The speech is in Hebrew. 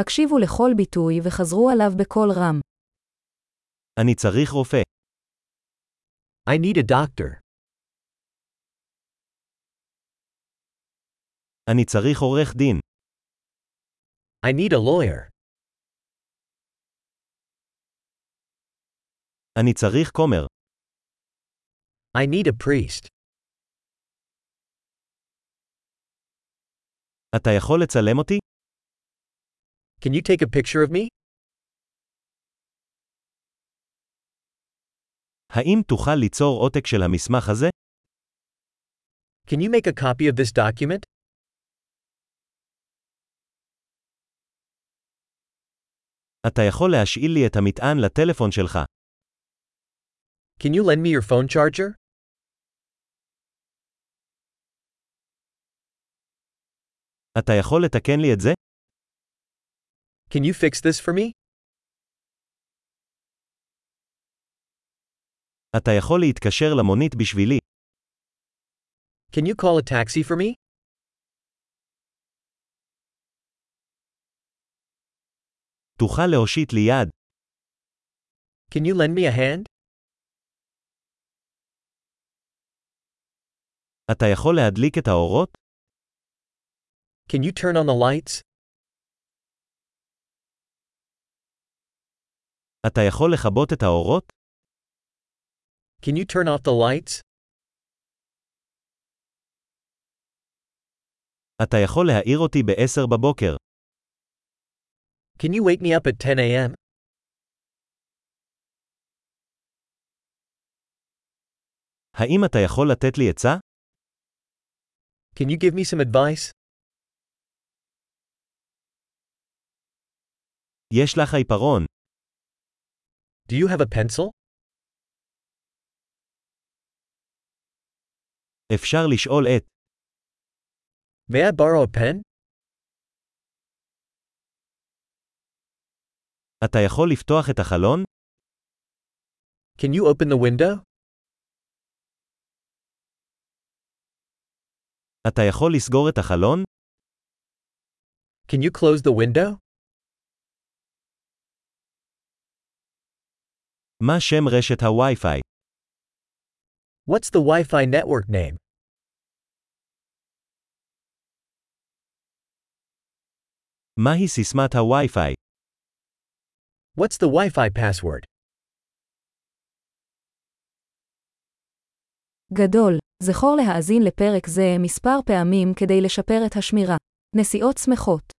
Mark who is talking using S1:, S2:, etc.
S1: הקשיבו לכל ביטוי וחזרו עליו בקול רם.
S2: אני צריך רופא.
S3: I need a doctor.
S2: אני צריך עורך דין.
S3: I need a lawyer.
S2: אני צריך כומר.
S3: I need a priest.
S2: אתה יכול לצלם אותי?
S3: Can you take a picture of me?
S2: האם תוכל ליצור עותק של המסמך הזה?
S3: Can you make a copy of this document?
S2: אתה יכול להשאיל לי את המטען לטלפון שלך.
S3: Can you lend me your phone charger?
S2: אתה יכול לתקן לי את זה?
S3: Can you fix this for me?
S2: אתה יכול להתקשר למונית בשבילי.
S3: Can you call a taxi for me?
S2: תוכל להושיט לי יד.
S3: Can you lend me a hand?
S2: אתה יכול להדליק את האורות?
S3: Can you turn on the lights?
S2: אתה יכול לכבות את האורות?
S3: Can you turn off the lights?
S2: אתה יכול להעיר אותי ב-10 בבוקר.
S3: Can you wake me up at 10 a.m.?
S2: האם אתה יכול לתת לי עצה?
S3: Can you give me some advice?
S2: יש לך עיפרון.
S3: Do you have a pencil?
S2: אפשר לשאול את.
S3: May I borrow a pen?
S2: אתה יכול לפתוח את החלון?
S3: Can you open the window?
S2: אתה יכול לסגור את החלון?
S3: Can you close the window?
S2: מה שם רשת הווי-פיי?
S3: What's the Wi Fi network name?
S2: מהי סיסמת הווי-פיי?
S3: What's the Wi Fi password?
S1: גדול, זכור להאזין לפרק זה מספר פעמים כדי לשפר את השמירה. נסיעות שמחות